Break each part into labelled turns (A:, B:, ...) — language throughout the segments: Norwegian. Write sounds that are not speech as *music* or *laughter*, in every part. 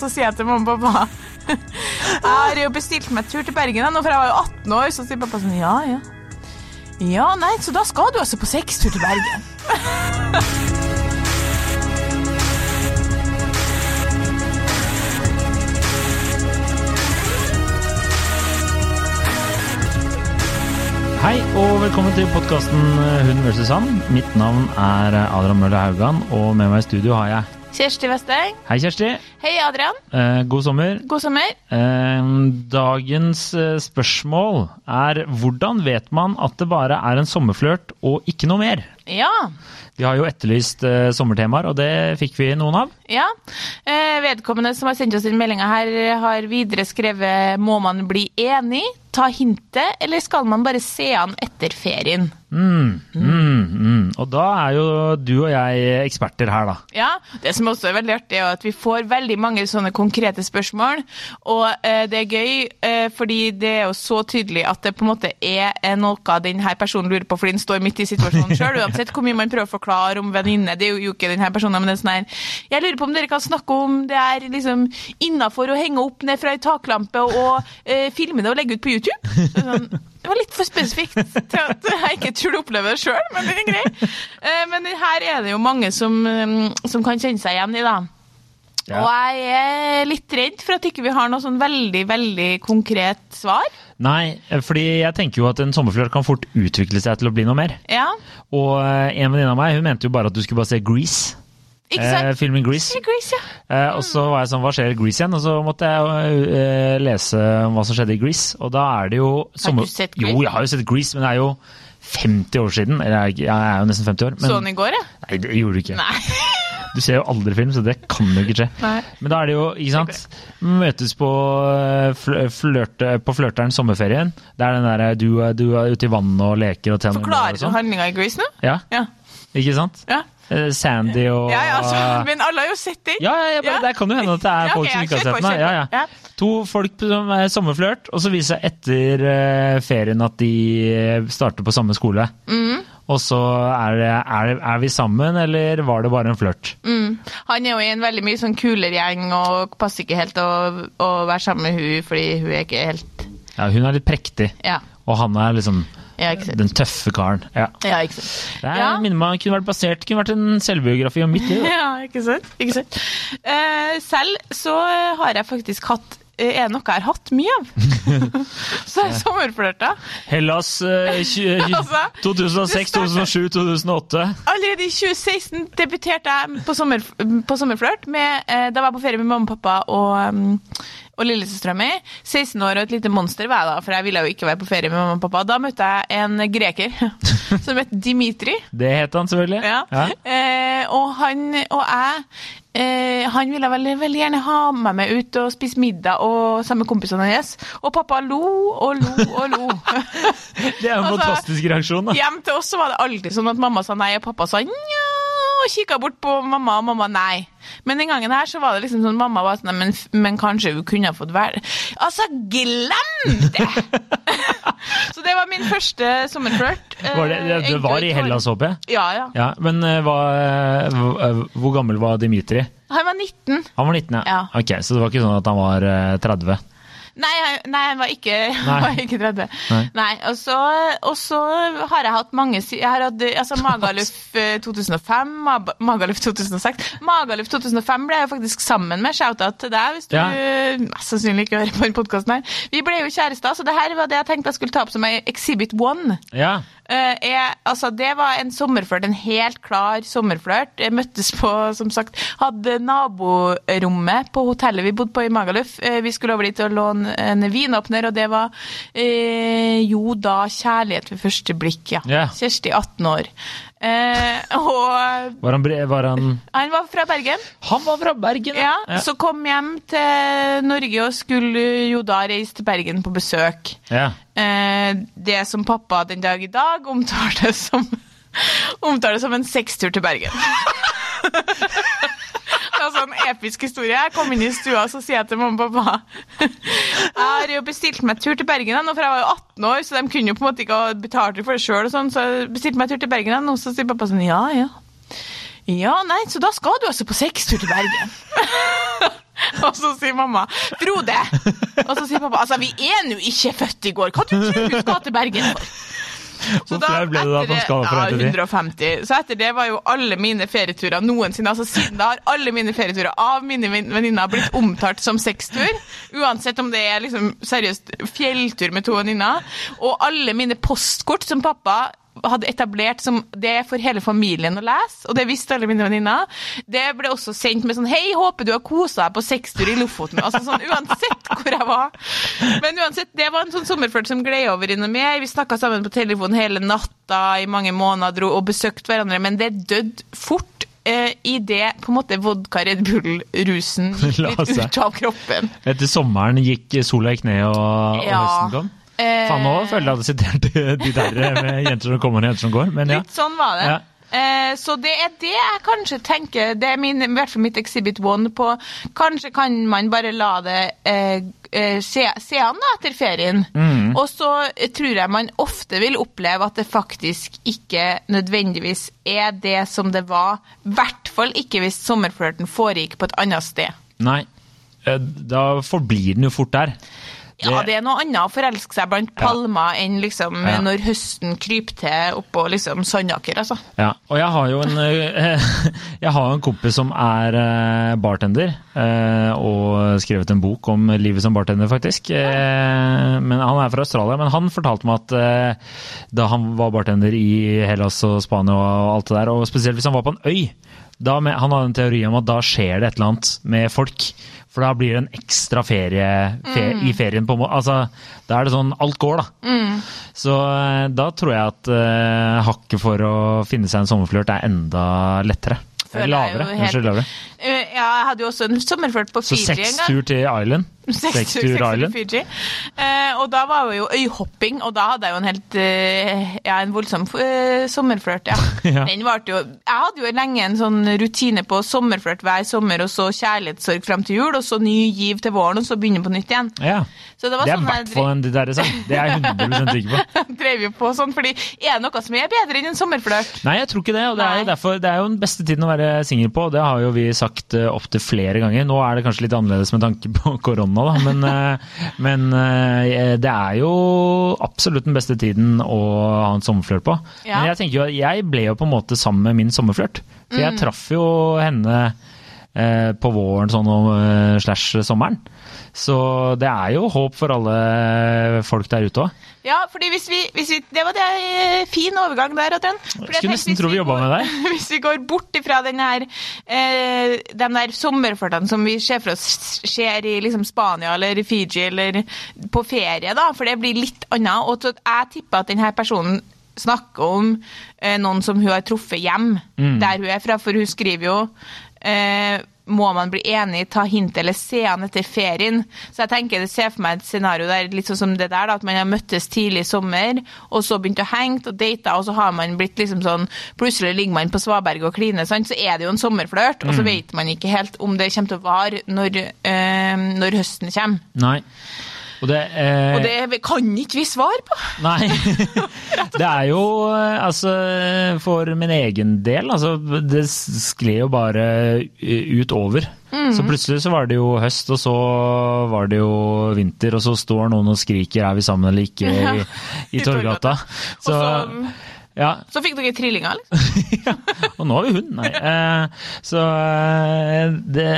A: Så sier jeg til mamma og pappa *laughs* Jeg har jo bestilt meg tur til Bergen, jeg nå, for jeg var jo 18 år. Så sier pappa sånn Ja, ja. Ja, nei, så da skal du altså på sextur til Bergen.
B: Hei og velkommen til podkasten Hun versus han. Mitt navn er eh, Adrian Møller Haugan, og med meg i studio har jeg
A: *laughs* Kjersti Vesteng.
B: Hei, Kjersti.
A: Hei, Adrian.
B: Eh, god sommer.
A: God sommer.
B: Eh, dagens eh, spørsmål er hvordan vet man at det bare er en sommerflørt og ikke noe mer?
A: Ja.
B: Vi har jo etterlyst eh, sommertemaer, og det fikk vi noen av.
A: ja. Eh, vedkommende som har sendt oss den meldinga her, eh, har videre skrevet Må man bli enig? Ta hintet, eller skal man bare se an etter ferien?
B: Mm, mm, mm. Og da er jo du og jeg eksperter her, da.
A: Ja, Det som også er veldig artig, er at vi får veldig mange sånne konkrete spørsmål. Og eh, det er gøy, eh, fordi det er jo så tydelig at det på en måte er eh, noe denne personen lurer på, fordi den står midt i situasjonen sjøl. Uansett hvor mye man prøver å forklare om venninne, det er jo ikke denne personen, men det er sånn her Jeg lurer på om dere kan snakke om det er liksom innafor å henge opp ned fra ei taklampe og eh, filme det og legge ut på YouTube. Så Sånn, det var litt for spesifikt til at jeg ikke tror du opplever det sjøl, men det er greit. Eh, Men her er det jo mange som, eh, som kan kjenne seg igjen i, da.
B: Ja.
A: Og jeg er litt redd for at ikke vi har noe sånn veldig, veldig konkret svar.
B: Nei, eh, fordi jeg tenker jo at en sommerflørt kan fort utvikle seg til å bli noe mer.
A: Ja,
B: Og eh, en venninne av meg hun mente jo bare at du skulle bare se Grease.
A: ikke sant?
B: Eh, filmen Grease.
A: Sier Grease, ja.
B: Eh, og så var jeg sånn, hva skjer i Grease igjen? Og så måtte jeg eh, lese om hva som skjedde i Grease. Og da er det jo sommer-
A: du sett Grease?
B: Jo, jeg har jo sett Grease, men det er jo 50 år siden. Eller jeg, jeg er jo nesten 50 år. Men,
A: Så den i går, ja?
B: Nei, det gjorde du ikke.
A: Nei.
B: Du ser jo aldri film, så det kan jo ikke skje.
A: Nei.
B: Men da er det jo, ikke sant, møtes på, eh, flø- flørte, på flørteren sommerferien. Det er den derre du, er- du er ute i vannet og leker og tjener
A: Forklarer du
B: sånn.
A: handlinga i Grease nå?
B: Ja,
A: Ja.
B: ikke sant?
A: Ja,
B: Eh, Sandy og
A: ja, ja altså, men alle har jo sett den.
B: Ja, ja, jeg bare,
A: Ja.
B: det kan jo hende at det
A: Ja,
B: er
A: ok,
B: folk som
A: ja,
B: ikke har
A: kjør
B: sett
A: på,
B: den. da.
A: kjør
B: Ja,
A: på.
B: ja. To folk som er sommerflørt, og så viser det seg etter eh, ferien at de eh, starter på samme skole.
A: Mm.
B: Og så er, det, er, det- er vi sammen, eller var det bare en flørt?
A: Mm. Han er jo i en veldig mye sånn kulergjeng og passer ikke helt å, å være sammen med hun, fordi hun er ikke helt
B: Ja, hun er litt prektig,
A: Ja,
B: og han er liksom
A: ja ikke sant.
B: den tøffe karen. Ja.
A: Ja, ikke sant.
B: Det er,
A: Ja.
B: minner meg, kunne vært basert, kunne vært en selvbiografi om mitt liv.
A: *laughs*
B: da.
A: Ja, ikke sant? Ikke sant? Eh, selv så eh, har jeg faktisk hatt eh, er det noe jeg har hatt mye av. så jeg sommerflørta.
B: Hellas eh, tjue-
A: Altså,
B: 2006, 2007, 2008.
A: Allerede i 2016 debuterte jeg på, sommer, på sommerflørt. Med, eh, da var jeg på ferie med mamma og pappa og, um, og lillesøstera mi. 16 år og et lite monster var jeg da, for jeg ville jo ikke være på ferie med mamma og pappa. Da møtte jeg en greker *laughs* som het Dimitri.
B: Det het han selvfølgelig.
A: *laughs* Ja.
B: Ja.
A: Eh, og han og jeg eh, Han ville veldig, veldig gjerne ha meg med ut og spise middag og sammen med kompisene hans. Og pappa lo og lo og
B: *laughs*
A: lo.
B: Det er jo en
A: Altså,
B: fantastisk reaksjon. Da.
A: Hjem til oss så var det alltid sånn at mamma sa nei, og pappa sa nja, og kikka bort på mamma, og mamma nei. Men den gangen her så var det liksom sånn mamma var sånn, «Nei, men, men kanskje hun kunne ha fått være Altså, glem det! *laughs* så det var min første sommerflørt. Eh,
B: Var det, det, det
A: egentlig
B: var i
A: ikke
B: Hellas, håper jeg.
A: Ja, ja.
B: Ja, men eh, hva, eh, hv- eh, hvor gammel var Dimitri?
A: Han var 19.
B: Han var 19, ja.
A: Ja.
B: Ok, Så det var ikke sånn at han var eh, 30?
A: Nei, jeg- nei, han var ikke, *laughs*
B: Nei.
A: han var ikke 30.
B: Nei.
A: Nei, og, så, og så har jeg hatt mange sy- Jeg har hatt eh, altså,
B: *laughs*
A: Magaluf eh, 2005, Mab- Magaluf 2006 Magaluf 2005 ble jeg jo faktisk sammen med. Shout-out til deg, hvis du
B: Ja.
A: eh, mest sannsynlig ikke hører på den podkasten her. Vi ble jo kjærester, så det her var det jeg tenkte jeg skulle ta opp som ei Exhibit One.
B: Ja.
A: Eh, jeg, altså, det var en sommerflørt, en helt klar sommerflørt. Jeg møttes på, som sagt, hadde naborommet på hotellet vi bodde på i Magaluf. Eh, vi skulle over dit og låne en vinåpner, og det var eh, jo da kjærlighet ved første blikk, ja.
B: Ja.
A: Kjersti, 18 år. Eh, og
B: Var han, bre- var han
A: han var fra Bergen.
B: Han var fra Bergen!
A: Ja,
B: ja.
A: Så kom hjem til Norge og skulle jo da reise til Bergen på besøk.
B: ja.
A: Eh, det som pappa den dag i dag omtaler som, *laughs* omtaler som en sextur til Bergen. *laughs* Det er sånn episk historie. Jeg kom inn i stua, så sier jeg til mamma og pappa *laughs* Jeg har jo bestilt meg tur til Bergen, jeg nå, for jeg var jo 18 år, så de kunne jo på en måte ikke ha betalt for det sjøl, så jeg bestilte meg tur til Bergen, jeg nå, så sier pappa sånn Ja, ja. Ja, nei, så da skal du altså på sextur til Bergen. *laughs* Og så sier mamma 'Frode'. Og så sier pappa 'altså, vi er nå ikke født i går, hva du tror du skal til Bergen
B: *laughs*
A: for?'
B: Hvor flau ble du da
A: etter
B: på en skala fra én til ti?
A: Ja, 150. Så etter det var jo alle mine ferieturer noensinne, altså siden da har alle mine ferieturer av mine ven- venninner blitt omtalt som sextur, uansett om det er liksom seriøst fjelltur med to venninner, og alle mine postkort som pappa hadde etablert som det er for hele familien å lese, og det visste alle mine venninner. Det ble også sendt med sånn 'Hei, håper du har kosa deg på sextur i Lofoten'. Altså sånn uansett hvor jeg var. Men uansett, det var en sånn sommerflørt som gled over i noe mer. Vi snakka sammen på telefon hele natta i mange måneder og besøkte hverandre, men det døde fort. Eh, I det på en måte vodka Red Bull-rusen gikk
B: *laughs* La
A: litt
B: seg.
A: ut av kroppen.
B: Etter sommeren gikk sola i kne og, og
A: Ja. Eh.
B: høsten kom? Faen, nå føler jeg at jeg hadde sitert *laughs* de der eh, med jenter som kommer og jenter som går, men ja.
A: Litt sånn var det.
B: Ja.
A: Eh, så det er det jeg kanskje tenker, det er min, i hvert fall mitt Exhibit One på Kanskje kan man bare la det eh, eh, se, se an da, etter ferien.
B: Mm.
A: Og så eh, tror jeg man ofte vil oppleve at det faktisk ikke nødvendigvis er det som det var. I hvert fall ikke hvis sommerflørten foregikk på et annet sted.
B: Nei. Eh, Da forblir den jo fort der.
A: Ja,
B: Det-
A: det er noe annet å forelske seg blant palmer enn liksom
B: Ja.
A: når høsten kryper til oppå liksom Sandaker, altså.
B: Ja, og jeg har jo en, eh, *laughs* jeg har jo en kompis som er eh, bartender, eh, og skrevet en bok om livet som bartender, faktisk. Eh, Men han er fra Australia, men han fortalte meg at eh, da han var bartender i Hellas og Spania og alt det der, og spesielt hvis han var på en øy, da med, han hadde en teori om at da skjer det et eller annet med folk. For da blir det en ekstra ferie fe,
A: Mm.
B: i ferien. på en må- altså, Da er det sånn alt går, da. Så eh, da tror jeg at eh, hakket for å finne seg en sommerflørt er enda lettere.
A: Føler jeg jo
B: lavere.
A: helt-
B: Unnskyld, lavere.
A: Eh, ja, jeg hadde jo også en sommerflørt på
B: Så
A: Fiji en
B: seks
A: gang.
B: tur til Island. Seks
A: *laughs* Seks-
B: tur
A: seks
B: Island.
A: Fiji. Eh, og da var jo øyhopping, og da hadde jeg jo en helt eh, Ja, en voldsom eh, sommerflørt, ja.
B: *laughs* Ja.
A: Den varte jo Jeg hadde jo lenge en sånn rutine på sommerflørt hver sommer, og så kjærlighetssorg fram til jul, og så ny giv til våren, og så begynne på nytt igjen.
B: Ja.
A: Så det var
B: Det er i
A: sånn jeg
B: hvert fall en Didderre-sang. Det er jeg 100 sikker på.
A: drev, *laughs* drev jo på sånn, fordi er det noe som er bedre enn en sommerflørt?
B: Nei, jeg tror ikke det. og Det er jo,
A: Nei.
B: derfor, det er jo den beste tiden å være singel på. og Det har jo vi sagt eh, opp opptil flere ganger. Nå er det kanskje litt annerledes med tanke på *laughs* korona, da. Men, eh, men eh, det er jo absolutt den beste tiden å ha en sommerflørt på.
A: Ja.
B: Men jeg tenker jo at jeg ble jo på en måte sammen med min sommerflørt. For
A: Mm.
B: jeg traff jo henne eh, på våren sånn om, eh, slash sommeren. Så det er jo håp for alle folk der ute òg.
A: Ja, fordi hvis vi, hvis vi Det var det eh, fin overgang der, Otten. Fordi jeg
B: Skulle
A: tenkte
B: nesten
A: hvis
B: tro vi
A: går-
B: jobbet med deg.
A: *laughs* Hvis vi går bort ifra den her, eh, de der sommerflørtene som vi ser for oss skjer i liksom Spania eller Fiji eller på ferie, da, for det blir litt annet. Og så jeg tipper at denne personen snakker om eh, noen som hun har truffet hjem,
B: Mm.
A: der hun er fra, for hun skriver jo eh, må man bli enig, ta hint eller se an etter ferien. Så jeg tenker det ser for meg et scenario der, litt sånn som det der, da, at man har møttes tidlig i sommer, og så begynt å henge og date, og så har man blitt liksom sånn Plutselig ligger man på Svaberg og kliner, sant? så er det jo en sommerflørt, og så vet man ikke helt om det kommer til å vare når, eh, når høsten kommer.
B: Nei. Og det, eh,
A: Og det kan ikke vi svare på!
B: Nei. Det er jo eh, altså For min egen del, altså Det skled jo bare eh, utover. Så plutselig så var det jo høst, og så var det jo vinter, og så står noen og skriker 'er vi sammen eller ikke' i,
A: I
B: i
A: Torggata.
B: Torgata. Så,
A: Og så-
B: ja,
A: Så fikk dere trillinger, liksom.
B: *laughs* og nå har vi hund, nei. Eh, Så eh, det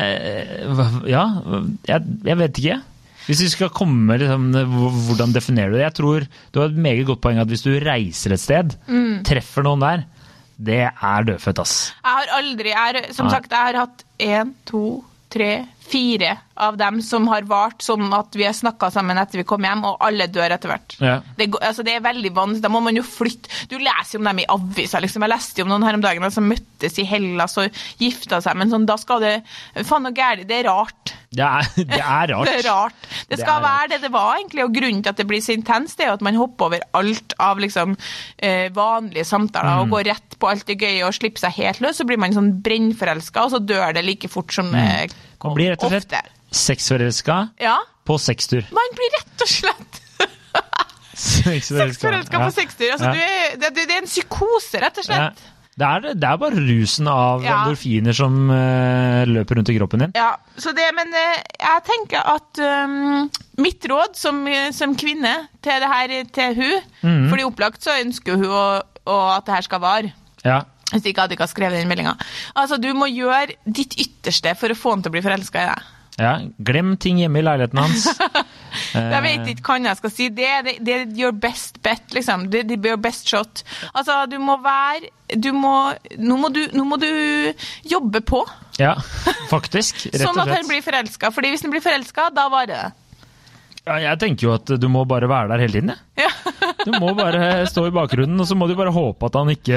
B: hva- Ja, jeg, jeg vet ikke. Hvis vi skal komme liksom, h- Hvordan definerer du det? Jeg tror Du har et meget godt poeng at hvis du reiser et sted,
A: Mm.
B: treffer noen der, det er dødfødt, ass.
A: Jeg har aldri jeg har, Som
B: Nei.
A: sagt, jeg har hatt én, to, tre, fire av dem som har vart som at vi har snakka sammen etter vi kom hjem, og alle dør etter hvert.
B: Ja.
A: Det, går- altså, det er veldig vanskelig. Da må man jo flytte. Du leser jo om dem i avisa, liksom. Jeg leste jo om noen her om dagen som møttes i Hellas og gifta seg, men sånn, da skal det Faen og gæli, det er rart.
B: Det er, *laughs* det er rart.
A: *laughs* Det er rart. Det
B: Det
A: skal
B: er rart.
A: være det det var, egentlig. Og grunnen til at det blir så intenst, det er jo at man hopper over alt av liksom, eh, vanlige samtaler
B: Mm.
A: og går rett på alt det gøye og slipper seg helt løs. Så blir man sånn brennforelska, og så dør det like fort som eh, det
B: Mm. Man blir rett og slett
A: ofte.
B: sexforelska
A: Ja.
B: på
A: *laughs*
B: sextur.
A: Man blir rett og slett
B: Sexforelska
A: sexforelska på
B: ja.
A: *laughs* sextur. Altså,
B: Ja.
A: du er, det, det er en psykose, rett og slett.
B: Ja. Det er, det er bare rusen av
A: Ja.
B: endorfiner som eh, løper rundt i kroppen din.
A: Ja, så det, men eh, jeg tenker at um, mitt råd som, som kvinne til det her til hun,
B: Mhm.
A: fordi opplagt så ønsker hun å, å, at det her skal vare.
B: Ja.
A: Hvis ikke hadde hun ikke ha skrevet den meldinga. Altså, du må gjøre ditt ytterste for å få han til å bli forelska i deg.
B: ja. Glem ting hjemme i leiligheten
A: *laughs*
B: hans. Eh,
A: Jeg vet ikke hva jeg skal si. Det er det, det er your best bet, liksom. Det det er your best shot. Altså, du må være Du må Nå må du, nå må du jobbe på,
B: Ja, faktisk. Rett og slett.
A: sånn at han blir forelska. Fordi hvis han blir forelska, da varer det.
B: Ja, jeg tenker jo at du må bare være der hele tiden, jeg.
A: Ja. *laughs*
B: Du må bare stå i bakgrunnen, og så må du bare håpe at han ikke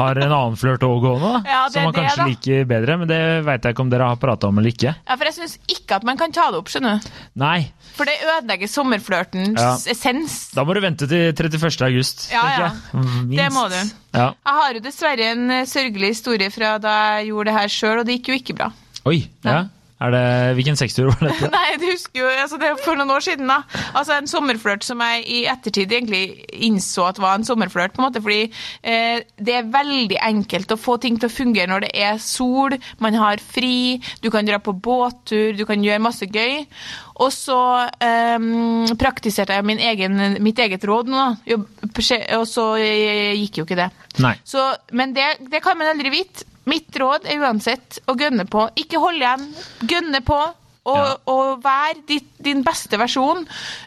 B: har en annen flørt å gå nå, da.
A: Ja, det er
B: som han
A: det,
B: kanskje
A: da.
B: liker bedre, men det veit jeg ikke om dere har prata om eller ikke.
A: Ja, for jeg syns ikke at man kan ta det opp, skjønner du.
B: Nei,
A: For det ødelegger sommerflørtens
B: Ja.
A: essens.
B: da må du vente til 31. august.
A: Ja,
B: tenker
A: ja.
B: jeg. Minst.
A: Det må du.
B: Ja.
A: Jeg har jo dessverre en eh, sørgelig historie fra da jeg gjorde det her sjøl, og det gikk jo ikke bra.
B: Oi, ja. Er det, hvilken sextur var dette?
A: *laughs* Nei, du husker jo altså det er for noen år siden, da. Altså En sommerflørt som jeg i ettertid egentlig innså at var en sommerflørt, på en måte. Fordi eh, det er veldig enkelt å få ting til å fungere når det er sol, man har fri, du kan dra på båttur, du kan gjøre masse gøy. Og så eh, praktiserte jeg min egen, mitt eget råd nå, da. Jobb- Og så eh, gikk jo ikke det.
B: Nei.
A: Så, men det, det kan man aldri vite. Mitt råd er uansett å gønne på. Ikke hold igjen. Gønne på. Og,
B: Ja.
A: og vær ditt, din beste versjon.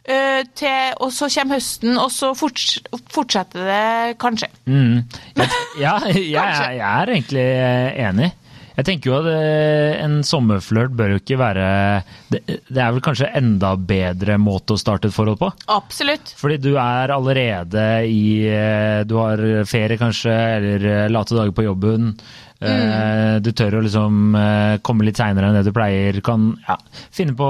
A: øh, til, og så kommer høsten, og så forts, fortsetter det kanskje.
B: Mm. Jeg,
A: *laughs*
B: ja, jeg, jeg,
A: Kanskje.
B: jeg er egentlig eh, enig. Jeg tenker jo at eh, en sommerflørt bør jo ikke være det, det er vel kanskje enda bedre måte å starte et forhold på?
A: Absolutt.
B: Fordi du er allerede i eh, Du har ferie kanskje, eller eh, late dager på jobben. Eh,
A: Mm.
B: Du tør å liksom eh, komme litt seinere enn det du pleier. Kan ja, finne på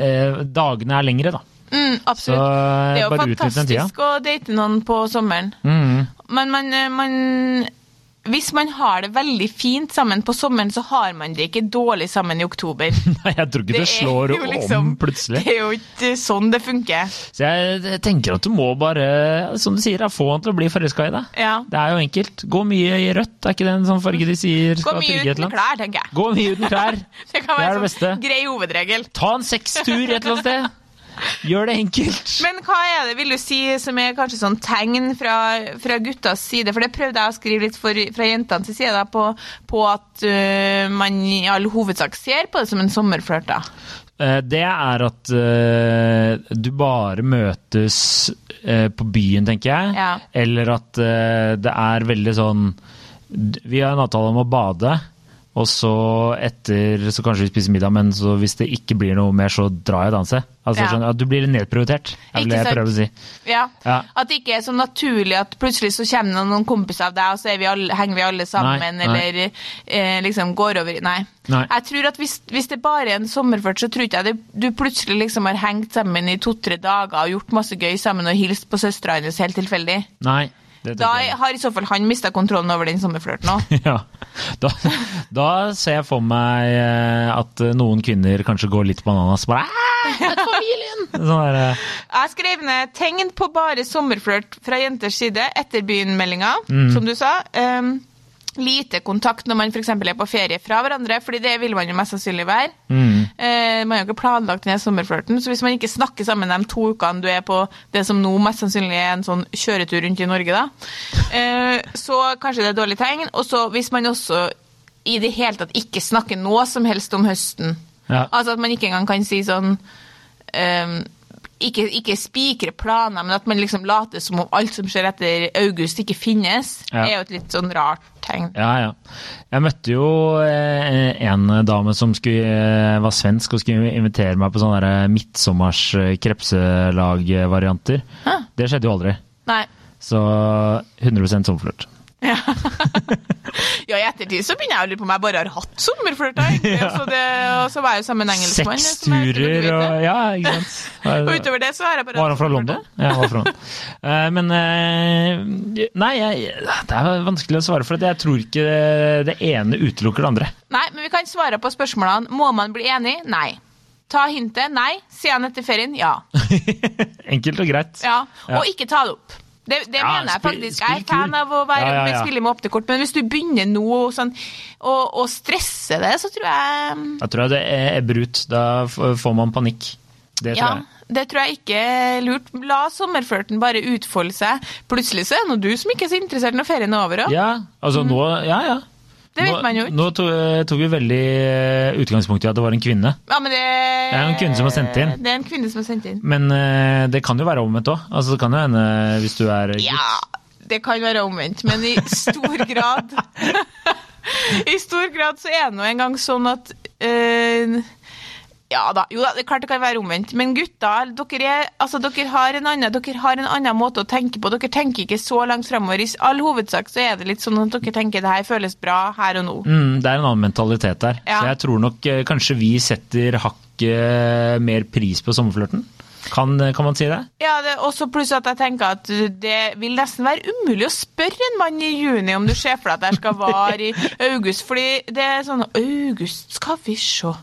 B: eh, Dagene er lengre, da. *laughs*
A: Mm,
B: Så
A: absolutt. det er jo
B: bare utnytt den tida.
A: fantastisk å date noen på sommeren.
B: Mm.
A: Men man, øh, man hvis man har det veldig fint sammen på sommeren, så har man det ikke dårlig sammen i oktober.
B: Nei, jeg tror ikke det,
A: er
B: slår
A: jo liksom-
B: om plutselig.
A: Det er jo ikke sånn det funker.
B: Så jeg, jeg tenker at du må bare, som du sier, da, få han til å bli forelska i deg.
A: Ja.
B: Det er jo enkelt. Gå mye i rødt, er ikke det en sånn farge de sier
A: Gå
B: skal
A: mye
B: trygge et
A: uten
B: eller annet?
A: klær, tenker jeg. *laughs*
B: Gå mye uten klær.
A: Det kan
B: Det
A: være
B: er det
A: en
B: beste.
A: sånn grei hovedregel.
B: Ta en sextur et eller annet sted. Gjør det enkelt.
A: Men hva er det, vil du si, som er kanskje sånn tegn fra, fra guttas side? For det prøvde jeg å skrive litt for, fra jentenes side, da, på, på at øh, man i all hovedsak ser på det som en sommerflørt, da.
B: Eh, Det er at eh, du bare møtes eh, på byen, tenker jeg.
A: Ja.
B: Eller at eh, det er veldig sånn d- Vi har en avtale om å bade, og så etter så kanskje vi spiser middag, men så hvis det ikke blir noe mer, så drar jeg og danser. Altså,
A: Ja.
B: skjønner, du, at du blir nedprioritert, er
A: Ikke
B: vel det jeg
A: sant?
B: prøver å si.
A: Ja.
B: Ja.
A: At det ikke er så naturlig at plutselig så kommer det noen kompiser av deg, og så er vi alle, henger vi alle sammen,
B: Nei, nei.
A: eller eh, liksom går over i- Nei.
B: Nei.
A: Jeg tror at hvis, hvis det bare er en sommerflørt, så tror ikke jeg det, du plutselig liksom har hengt sammen i to-tre dager og gjort masse gøy sammen og hilst på søstera hennes helt tilfeldig.
B: Nei. Det tenker
A: Da
B: jeg.
A: har i så fall han mista kontrollen over den sommerflørten òg.
B: *laughs* Ja. Da, da ser jeg for meg eh, at noen kvinner kanskje går litt bananas. Bare, «Æ, det er
A: *laughs*
B: familien! Sånn der, eh,
A: Jeg skrev ned 'tegn på bare sommerflørt fra jenters side' etter byen-meldinga,
B: Mm.
A: som du sa. Um, lite kontakt når man f.eks. er på ferie fra hverandre, fordi det vil man jo mest sannsynlig være.
B: mm.
A: Eh, man har jo ikke planlagt denne sommerflørten, så hvis man ikke snakker sammen de to ukene du er på det som nå mest sannsynlig er en sånn kjøretur rundt i Norge, da, eh, så kanskje det er dårlig tegn. Og så hvis man også i det hele tatt ikke snakker noe som helst om høsten,
B: Ja.
A: Altså at man ikke engang kan si sånn ehm, Ikke, ikke spikre planer, men at man liksom later som om alt som skjer etter august, ikke finnes,
B: Ja.
A: er jo et litt sånn rart tegn.
B: Ja, ja. Jeg møtte jo eh, en dame som skulle, eh, var svensk og skulle invitere meg på sånne der midtsommers eh, krepselag-varianter.
A: Hæ?
B: Det skjedde jo aldri.
A: Nei.
B: Så 100 sommerflørt.
A: Ja. *laughs* ja, i ettertid så begynner jeg å lure på om jeg bare har hatt sommerflørt, da, egentlig. Og så det- Og så var jeg jo sammen med en engelskmann.
B: Seks
A: som jeg ikke ville
B: turer
A: vite.
B: og Ja, ikke sant.
A: Og *laughs* utover det så har jeg bare
B: Var
A: hatt
B: han fra
A: sommerflørt,
B: London? Ja, han var fra London. Eh, Men eh, Nei, jeg, det er vanskelig å svare for det. Jeg tror ikke det ene utelukker det andre. *laughs*
A: da. Nei, men vi kan svare på spørsmålene. Må man bli enig? Nei. Ta hintet? Nei. Sier han etter ferien? Ja.
B: Enkelt og greit.
A: ja. Og ikke ta det opp. Det, det
B: Ja,
A: mener jeg
B: spill-
A: faktisk.
B: spill
A: Jeg er fan
B: kul.
A: av å være,
B: Ja, ja, ja.
A: spille med åpnekort, men hvis du begynner nå og sånn, og, og stresser det, så tror jeg
B: Da tror jeg det er ebber ut. Da f- får man panikk. Det
A: Ja,
B: tror jeg.
A: det tror jeg ikke er lurt. La sommerflørten bare utfolde seg. Plutselig så er det nå du som ikke er så interessert når ferien er over òg.
B: Ja, altså nå Ja, ja.
A: Mm. Det vet
B: Nå-
A: man jo ikke.
B: Nå to- tok vi veldig eh, utgangspunkt i at det var en kvinne.
A: Ja, men det, det
B: er en kvinne som har sendt inn.
A: Det er en kvinne som har sendt inn.
B: Men eh, det kan jo være omvendt òg. Altså, det kan jo hende hvis du er gutt.
A: Ja, det kan være omvendt, men i stor grad *laughs* I stor grad så er det nå engang sånn at eh, ja da, jo da, det er klart det kan være omvendt, men gutter, dere, er, altså, dere, har en annen, dere har en annen måte å tenke på. Dere tenker ikke så langt framover. I all hovedsak så er det litt sånn at dere tenker det her føles bra her og nå.
B: Mm, det er en annen mentalitet der.
A: Ja.
B: Så jeg tror nok eh, kanskje vi setter hakket mer pris på sommerflørten. Kan, kan man si det?
A: Ja, det, også pluss at jeg tenker at det vil nesten være umulig å spørre en mann i juni om du ser for deg at jeg skal vare i august, fordi det er sånn August, skal vi se.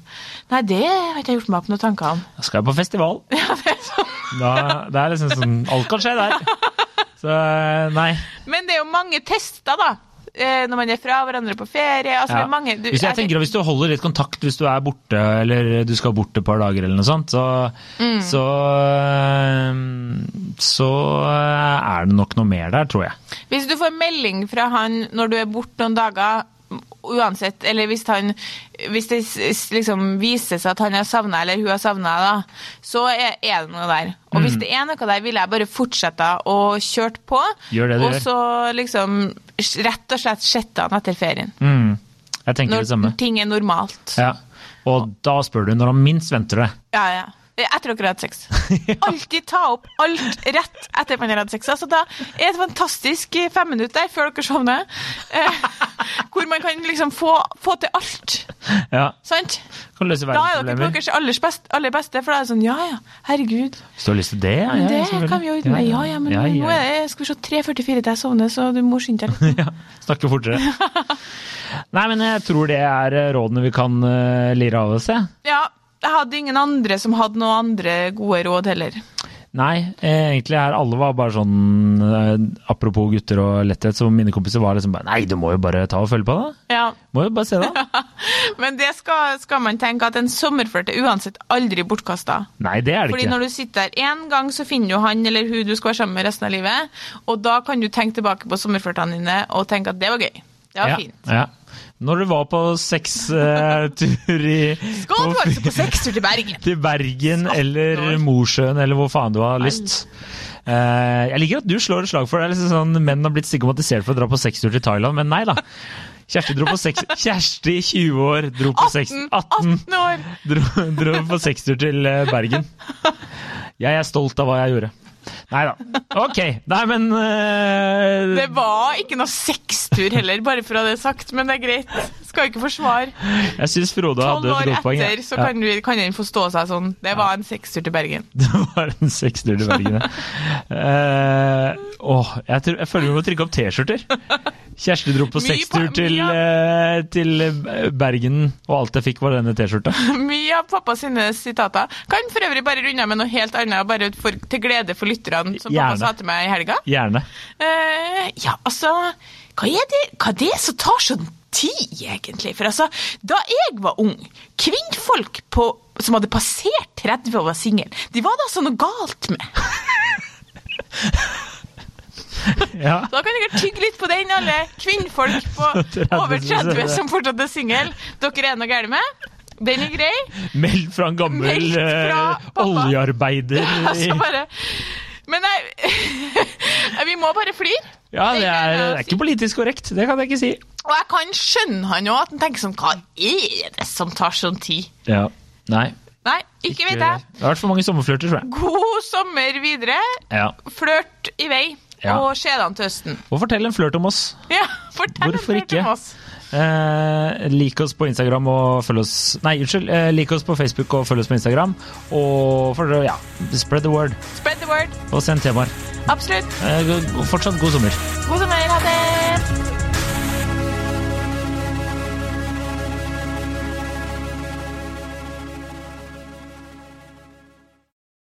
A: Nei, det har ikke jeg gjort meg opp noen tanker om. *laughs*
B: Da skal jeg på festival.
A: sånn.
B: Da, det er liksom sånn Alt kan skje
A: *laughs*
B: der. Så eh, nei.
A: Men det er jo mange tester, da. eh, Når man er fra hverandre på ferie. Altså, det
B: Ja.
A: er mange, du,
B: hvis jeg tenker at hvis du holder litt kontakt hvis du er borte, eller du skal bort et par dager eller noe sånt, så,
A: Mm.
B: så eh, Så eh, er det nok noe mer der, tror jeg.
A: Hvis du får melding fra han når du er borte noen dager, uansett, eller hvis, han, hvis det s- s- liksom viser seg at han har savna eller hun har savna deg, så er, er det noe der. Og hvis
B: Mm.
A: det er noe der, vil jeg bare fortsette å kjøre på.
B: Gjør det du
A: og
B: gjør.
A: så liksom s- rett og slett sjette han etter ferien.
B: Mm. Jeg tenker det samme.
A: Når ting er normalt.
B: Ja. Og da spør du når han minst venter det.
A: Ja, ja. Etter dere har hatt
B: *laughs*
A: sex. Alltid ta opp alt rett etter man har hatt sex. Altså, da er et fantastisk femminutt der før dere sovner,
B: *laughs*
A: eh, hvor man kan liksom få, få til alt.
B: Ja.
A: Sant?
B: Kan løse
A: Da er dere på
B: verdensproblemer.
A: deres aller best- aller beste, for da er det sånn ja, ja, herregud.
B: Hvis du har lyst til det, ja,
A: Men
B: ja,
A: det
B: selvfølgelig.
A: kan vi jo ordne. Ja, ja, men nå
B: ja.
A: er det skal vi se 3.44 til jeg sovner, så du må skynde deg litt.
B: *laughs* Ja, snakke fortere.
A: *laughs*
B: Nei, men jeg tror det er eh, rådene vi kan eh, lire av oss, jeg.
A: Ja, jeg hadde ingen andre som hadde noen andre gode råd heller.
B: Nei, eh, egentlig her alle var bare sånn eh, Apropos gutter og letthet, så mine kompiser var liksom bare Nei, du må jo bare ta og følge på, da.
A: Ja.
B: Må jo bare se,
A: *laughs*
B: da.
A: Men det skal, skal man tenke at en sommerflørt er uansett aldri bortkasta.
B: Nei, det er det
A: Fordi
B: ikke.
A: når du sitter der én gang, så finner du han eller hun du skal være sammen med resten av livet. Og da kan du tenke tilbake på sommerflørtene dine og tenke at det var gøy. Det var
B: ja,
A: fint.
B: Ja. Når du var på
A: *laughs*
B: sextur i
A: Skål
B: på-
A: for oss på sextur til Bergen!
B: til Bergen
A: Skatten
B: eller
A: vår.
B: Mosjøen eller hvor faen du har lyst. Eh, jeg liker at du slår et slag for det. det. er liksom sånn, menn har blitt stigmatisert for å dra på sextur til Thailand, men nei da. Kjersti, dro på
A: *laughs*
B: seks, Kjersti 20 år, dro på seks,
A: 18, 18
B: 18
A: Mm, år!
B: dro, dro på sextur til eh, Bergen. Jeg er stolt av hva jeg gjorde. Nei da. Ok. Nei, men eh,
A: Det var ikke noe sextur heller, bare for å ha det sagt, men det er greit. Skal ikke forsvare.
B: Jeg syns Frode
A: Tolv
B: hadde et
A: år
B: godt poeng.
A: etter så kan, vi, kan den forstå seg sånn. Det var en sextur til Bergen.
B: *laughs* Det var en sextur til Bergen, ja. Eh, åh, jeg, tror, jeg føler vi må trykke opp T-skjorter. Kjersti dro på
A: Mye
B: sextur
A: på-
B: til, eh, til eh, Bergen, og alt jeg fikk var denne T-skjorta.
A: *laughs* Mye av pappa sine sitater. Kan for øvrig bare runde av med noe helt annet, bare for, til glede for lytterne, som pappa
B: Gjerne.
A: sa til meg i helga.
B: Gjerne.
A: Eh, ja, altså Hva er det, hva er det som tar sånn tid, egentlig? For altså, da jeg var ung, kvinnfolk på, som hadde passert 30 og var single, de var det altså noe galt med.
B: Ja.
A: Da kan dere tygge litt på den, alle kvinnfolk
B: *laughs*
A: på
B: 30
A: over 30
B: som
A: som fortsatt er single. Dere er noe gærent med. Den er grei.
B: Meld fra en gammel
A: Meldt fra
B: eh,
A: pappa. *laughs*
B: oljearbeider.
A: Altså
B: i-
A: bare Men nei, *laughs* vi må bare flire.
B: Ja, det er, det
A: jeg
B: er
A: si.
B: ikke politisk korrekt, det kan jeg ikke si.
A: Og jeg kan skjønne han òg, at han tenker sånn Hva er det som tar sånn tid?
B: Ja. Nei.
A: Nei, ikke vet jeg.
B: Det har vært for mange sommerflørter, tror jeg.
A: God sommer videre.
B: Ja.
A: Flørt i vei.
B: Ja.
A: Og skjedene til høsten. *laughs*
B: Og fortell en flørt om oss.
A: Ja, fortell
B: Hvorfor
A: en flørt om
B: ikke?
A: oss.
B: Eh, lik oss på Instagram og følg oss Nei, unnskyld. Eh, lik oss på Facebook og følg oss på Instagram. Og for, ja, spread the word.
A: Spread the word.
B: Og send temaer.
A: Absolutt.
B: Eh, fortsatt god sommer.
A: God sommer. Ha det.